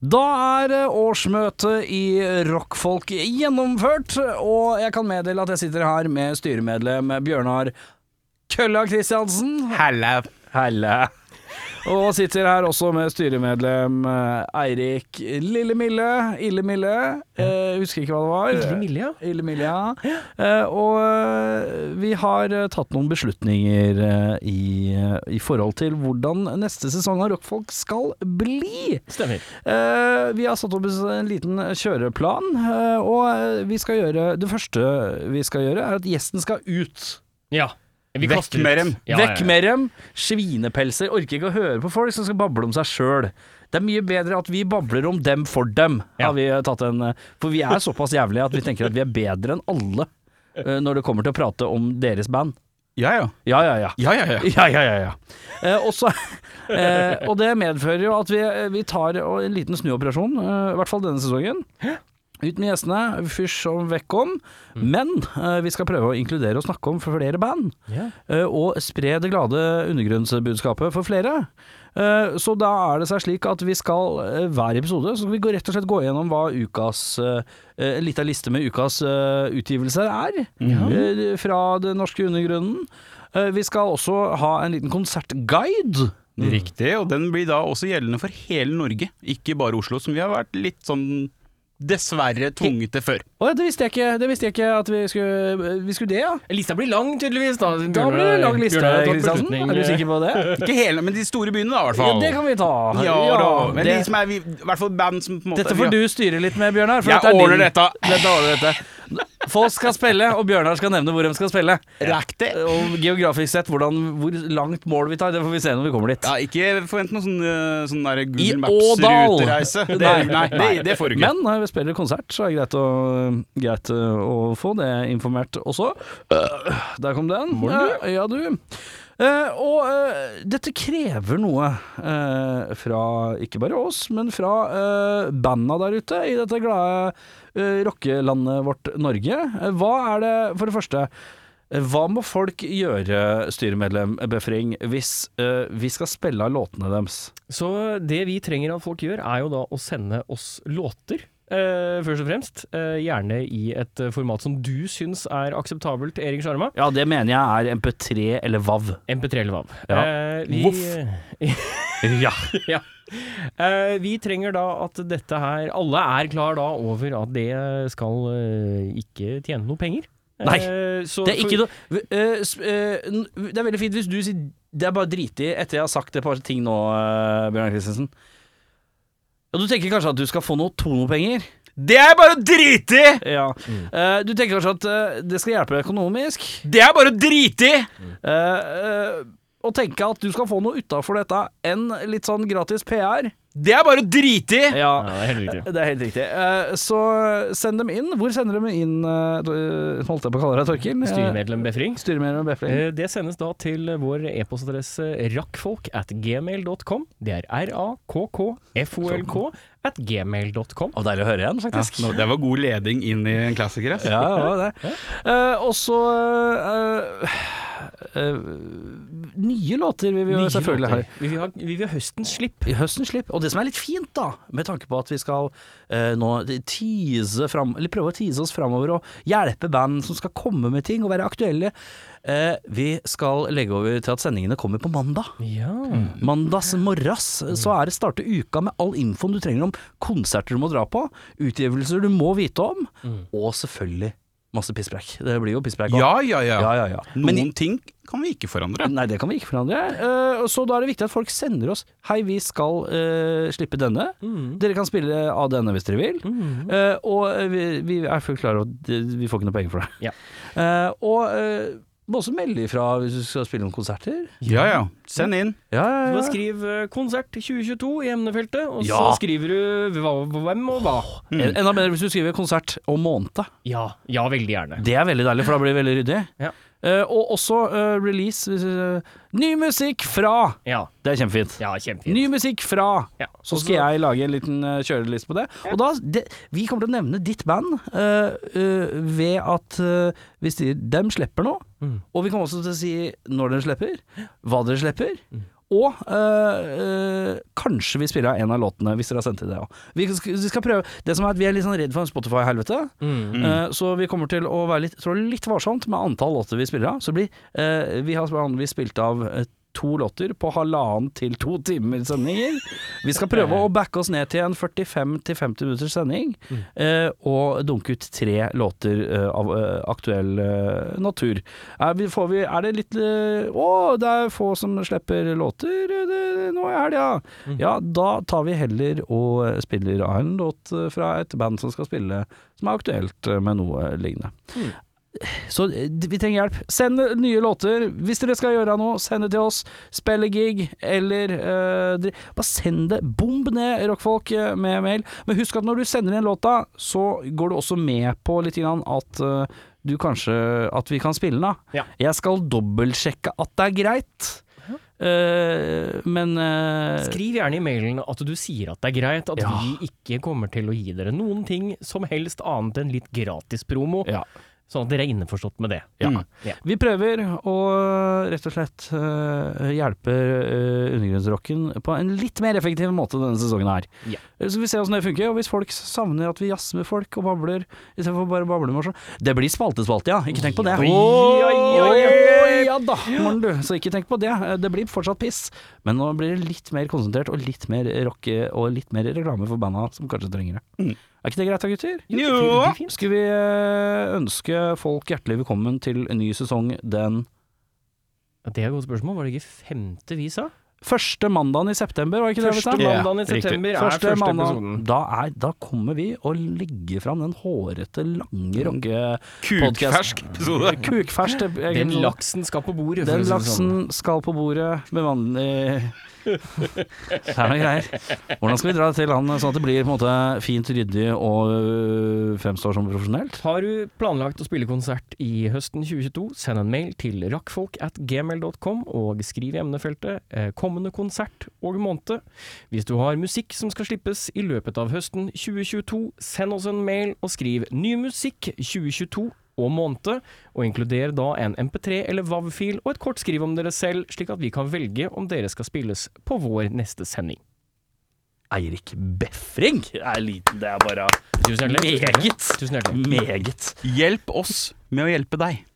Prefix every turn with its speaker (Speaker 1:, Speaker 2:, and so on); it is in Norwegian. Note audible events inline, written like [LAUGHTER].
Speaker 1: Da er eh, årsmøtet i Rockfolk gjennomført, og jeg kan meddele at jeg sitter her med styremedlem Bjørnar Kølla Kristiansen.
Speaker 2: Halla.
Speaker 1: Helle. Og sitter her også med styremedlem eh, Eirik Lillemille. Illemille. Eh, husker ikke hva det var.
Speaker 2: Lillemille, ja.
Speaker 1: Lillemille, ja. Eh, og eh, vi har eh, tatt noen beslutninger eh, i, eh, i forhold til hvordan neste sesong av Rockfolk skal bli.
Speaker 2: Stemmer.
Speaker 1: Eh, vi har satt opp en liten kjøreplan, eh, og eh, vi skal gjøre Det første vi skal gjøre, er at gjesten skal ut.
Speaker 2: Ja. Vi
Speaker 3: Vekk
Speaker 2: kaster ut.
Speaker 3: med dem.
Speaker 2: Ja,
Speaker 1: Vekk
Speaker 2: ja, ja.
Speaker 1: med dem. Svinepelser. Orker ikke å høre på folk som skal bable om seg sjøl. Det er mye bedre at vi babler om dem for dem,
Speaker 2: Ja.
Speaker 1: har vi tatt en eh, For vi er såpass jævlige at vi tenker at vi er bedre enn alle eh, når det kommer til å prate om deres band.
Speaker 3: Ja, ja.
Speaker 1: Ja, ja, ja.
Speaker 3: Ja, ja, ja.
Speaker 1: Ja, ja, ja, ja. Eh, og så- eh, og det medfører jo at vi, vi tar og- en liten snuoperasjon, eh, i hvert fall denne sesongen. Ut med gjestene, fysj og vekk om. Men eh, vi skal prøve å inkludere og snakke om flere band.
Speaker 2: Ja.
Speaker 1: Eh, og spre det glade undergrunnsbudskapet for flere. Eh, så da er det seg slik at vi skal eh, hver episode så skal vi gå, rett og slett gå gjennom hva ukas eh, eh, En lita liste med ukas eh, utgivelser er. eh, fra den norske undergrunnen. Eh, Vi skal også ha en liten konsertguide.
Speaker 3: Riktig, og den blir da også gjeldende for hele Norge, ikke bare Oslo, som vi har vært litt sånn dessverre tvunget til før.
Speaker 1: Å, ja, det visste jeg ikke, det visste jeg ikke at vi skulle, vi skulle det, ja.
Speaker 2: Lista blir lang, tydeligvis. Da,
Speaker 1: Da blir det lang liste, Kristiansen. Er du sikker på det?
Speaker 3: Ikke hele, men de store byene, da, i hvert
Speaker 1: Ja,
Speaker 3: fall.
Speaker 1: det kan vi ta.
Speaker 3: Ja, da. Men
Speaker 1: det,
Speaker 3: de som er vi- I hvert fall band som på en måte
Speaker 1: dette får du styre litt med, Bjørnar. For
Speaker 3: Jeg
Speaker 1: dette er
Speaker 3: ordner
Speaker 1: din.
Speaker 3: dette.
Speaker 1: [LAUGHS] dette ordner dette. Folk skal spille, og Bjørnar skal nevne hvor de skal spille.
Speaker 3: Riktig.
Speaker 1: Og geografisk sett, hvordan, hvor langt mål vi tar, det får vi se når vi kommer dit.
Speaker 3: Ja, ikke forvent noen sånn, eh, sånn der
Speaker 1: I
Speaker 3: Google
Speaker 1: Ådal. [LAUGHS]
Speaker 3: Maps-rutereise. Det, nei, det, det får du ikke.
Speaker 1: Men når vi spiller konsert, så er det greit å, greit eh, å få det informert også. Øh, Der kom den. Eh, Ja, du. Eh, og eh, dette krever noe eh, fra ikke bare oss, men fra eh, banda der ute i dette glade eh, rockelandet vårt Norge. Eh, Hva er det, for det første eh, hva må folk gjøre, styremedlem Befring, hvis eh, vi skal spille av låtene deres?
Speaker 2: Så det vi trenger at folk gjør, er jo da å sende oss låter. eh, først og fremst. eh, gjerne i et eh, format som du syns er akseptabelt, Erik Sjarma.
Speaker 1: Ja, det mener jeg er MP3 eller VAV.
Speaker 2: MP3 eller WAV.
Speaker 1: Ja.
Speaker 2: Eh, vi,
Speaker 1: Ja.
Speaker 2: ja. Eh, vi trenger da at dette her Alle er klar da over at det skal eh, ikke tjene noe penger.
Speaker 1: Nei,
Speaker 2: Eh, så
Speaker 1: Det er ikke
Speaker 2: for-
Speaker 1: noe Eh, sp- eh, n- Det er veldig fint hvis du sier Det er bare dritig etter jeg har sagt et par ting nå, eh, Bjørnar Kristensen. Ja, du tenker kanskje at du skal få noe tonopenger?
Speaker 3: Det er bare å drite i!
Speaker 1: Ja. Eh, du tenker kanskje at eh, det skal hjelpe deg økonomisk?
Speaker 3: Det er bare å drite i!
Speaker 1: Eh, eh, å tenke at du skal få noe utafor dette enn litt sånn gratis PR?
Speaker 3: Det er bare å drite i!
Speaker 1: Ja,
Speaker 2: Ja, det er helt riktig.
Speaker 1: det er helt riktig. Eh, så send dem inn. Hvor sender de inn, eh, holdt jeg på å kalle deg, Torkil? Eh,
Speaker 2: Styremedlem Befring.
Speaker 1: Styremedlem Befring.
Speaker 2: Eh, Det sendes da til vår e-postadresse rakkfolk at gmail.com. Det er r-a-k-k-f-o-l-k at gmail.com.
Speaker 1: Og deilig å høre igjen, faktisk.
Speaker 3: Nå, det var god leding inn i en klassiker. ass.
Speaker 1: Ja, det var det. Eh, og så eh, eh, Nye låter vil vi jo selvfølgelig ha.
Speaker 2: Vi vil ha, vi vil ha høstens slipp.
Speaker 1: I høsten slipp. Og det som er litt fint, da, med tanke på at vi skal eh, nå tease fram, eller prøve å tease oss framover og hjelpe band som skal komme med ting og være aktuelle, eh, vi skal legge over til at sendingene kommer på mandag.
Speaker 2: Ja.
Speaker 1: Mandags morras så er det starte uka med all infoen du trenger om konserter du må dra på, utgivelser du må vite om, og selvfølgelig masse pisspreik. Det blir jo pisspreik også.
Speaker 3: Ja, ja, ja.
Speaker 1: Mm. Ja, ja, ja.
Speaker 3: Noen
Speaker 1: Men,
Speaker 3: ting kan vi ikke forandre.
Speaker 1: nei, det kan vi ikke forandre. Eh, så da er det viktig at folk sender oss Hei, vi skal eh, slippe denne.
Speaker 2: Mm,
Speaker 1: Dere kan spille av denne hvis dere vil. Eh, og eh, vi, vi er fullt klare over at det- vi får ikke noe penger for det.
Speaker 2: Ja.
Speaker 1: Eh, og eh, må også melde ifra hvis du skal spille noen konserter.
Speaker 3: Ja, ja. Send inn.
Speaker 1: Ja, ja,
Speaker 2: Så da
Speaker 1: ja.
Speaker 2: skriv eh, 'konsert 2022' i emnefeltet, og
Speaker 1: Ja.
Speaker 2: så skriver du hva, hvem og hva.
Speaker 1: En- Enda bedre hvis du skriver konsert om måned.
Speaker 2: Ja, ja, veldig gjerne.
Speaker 1: Det er veldig deilig, for da blir det veldig ryddig.
Speaker 2: Ja.
Speaker 1: Eh, og også eh, release hvis, eh, Ny musikk fra!
Speaker 2: Ja,
Speaker 1: Det er kjempefint.
Speaker 2: ja kjempefint.
Speaker 1: Ny musikk fra!
Speaker 2: Ja.
Speaker 1: Så skal jeg lage en liten eh, kjøreliste på det. Og da, det, vi kommer til å nevne ditt band eh, eh, ved at eh, vi sier dem slipper nå, og vi kommer også til å si når dere slipper, hva dere slipper, Og eh, eh, kanskje vi spiller av en av låtene, hvis dere har sendt inn det òg. Vi, skal- vi skal prøve. Det som er at vi er litt sånn redd for Spotify-helvete.
Speaker 2: mm.
Speaker 1: Eh, Så vi kommer til å være litt, tror jeg, litt varsomt med antall låter vi spiller av. Så det blir, eh, vi har vanligvis spilt av eh, to låter på halvannen til to timer sendinger. Vi skal prøve å backe oss ned til en 45-50 minutters sending, eh, og dunke ut tre låter eh, av eh, aktuell eh, natur. Er, vi, får vi, er det litt eh, Å, det er få som slipper låter eh, det, nå i helga! Ja, da tar vi heller og spiller av en låt eh, fra et band som skal spille som er aktuelt eh, med noe lignende. Så eh, vi trenger hjelp. Send nye låter. Hvis dere skal gjøre noe, send det til oss. Spille gig, eller eh, dri- Bare send det. Bomb ned rockfolk eh, med mail. Men husk at når du sender inn låta, så går du også med på litt grann at eh, du kanskje At vi kan spille den, da.
Speaker 2: Ja.
Speaker 1: Jeg skal dobbeltsjekke at det er greit. Eh, men eh,
Speaker 2: Skriv gjerne i mailen at du sier at det er greit at
Speaker 1: Ja.
Speaker 2: vi ikke kommer til å gi dere noen ting som helst annet enn litt gratis promo,
Speaker 1: ja.
Speaker 2: sånn at dere er innforstått med det. Mm.
Speaker 3: Ja.
Speaker 2: Ja.
Speaker 1: Vi prøver å rett og slett eh, hjelpe eh, undergrunnsrocken på en litt mer effektiv måte denne sesongen her. Eh,
Speaker 2: Ja.
Speaker 1: Så vi ser åssen det funker, og hvis folk savner at vi jazzer med folk og babler istedenfor bare å bable med oss sjøl Det blir spaltespalte, ja. Ikke tenk på det.
Speaker 2: Oi, oi, oi, oi.
Speaker 1: ja da, morgen du. Så ikke tenk på det. Eh, Det blir fortsatt piss, men nå blir det litt mer konsentrert og litt mer rocke og litt mer reklame for banda som kanskje trenger det. Er ikke det greit da, gutter?
Speaker 3: Jo!
Speaker 1: Skal vi eh, ønske folk hjertelig velkommen til en ny sesong den
Speaker 2: Det er et godt spørsmål. Var det ikke femte vi sa?
Speaker 1: første mandagen i september, var det ikke det vi sa?
Speaker 2: Første
Speaker 3: Ja,
Speaker 2: mandagen i
Speaker 3: riktig.
Speaker 2: september er første episoden.
Speaker 1: Da, er, da kommer vi og legger fram den hårete, lange rocke...
Speaker 3: Kukfersk episode.
Speaker 1: Kukfersk ep- egen- sånn-
Speaker 2: Den laksen skal på bordet. for
Speaker 1: Den
Speaker 2: å si det sånn.
Speaker 1: laksen skal på bordet med vanlig Det er noe greier. Hvordan skal vi dra det til han sånn at det blir på en måte fint ryddig og øh, fremstår som profesjonelt?
Speaker 2: Har du planlagt å spille konsert i høsten 2022, send en mail til rakkfolk at gmail.com og skriv i emnefeltet eh, 'kommende konsert og måned'. Hvis du har musikk som skal slippes i løpet av høsten 2022, send oss en mail og skriv 'ny musikk 2022' og måned, og inkluder da en MP3 eller WAV-fil og et kort skriv om dere selv, slik at vi kan velge om dere skal spilles på vår neste sending.
Speaker 1: Eirik Befring er liten, det er bare
Speaker 2: Tusen hjertelig. Tusen hjertelig. Tusen hjertelig.
Speaker 1: Meget.
Speaker 3: Hjelp oss med å hjelpe deg.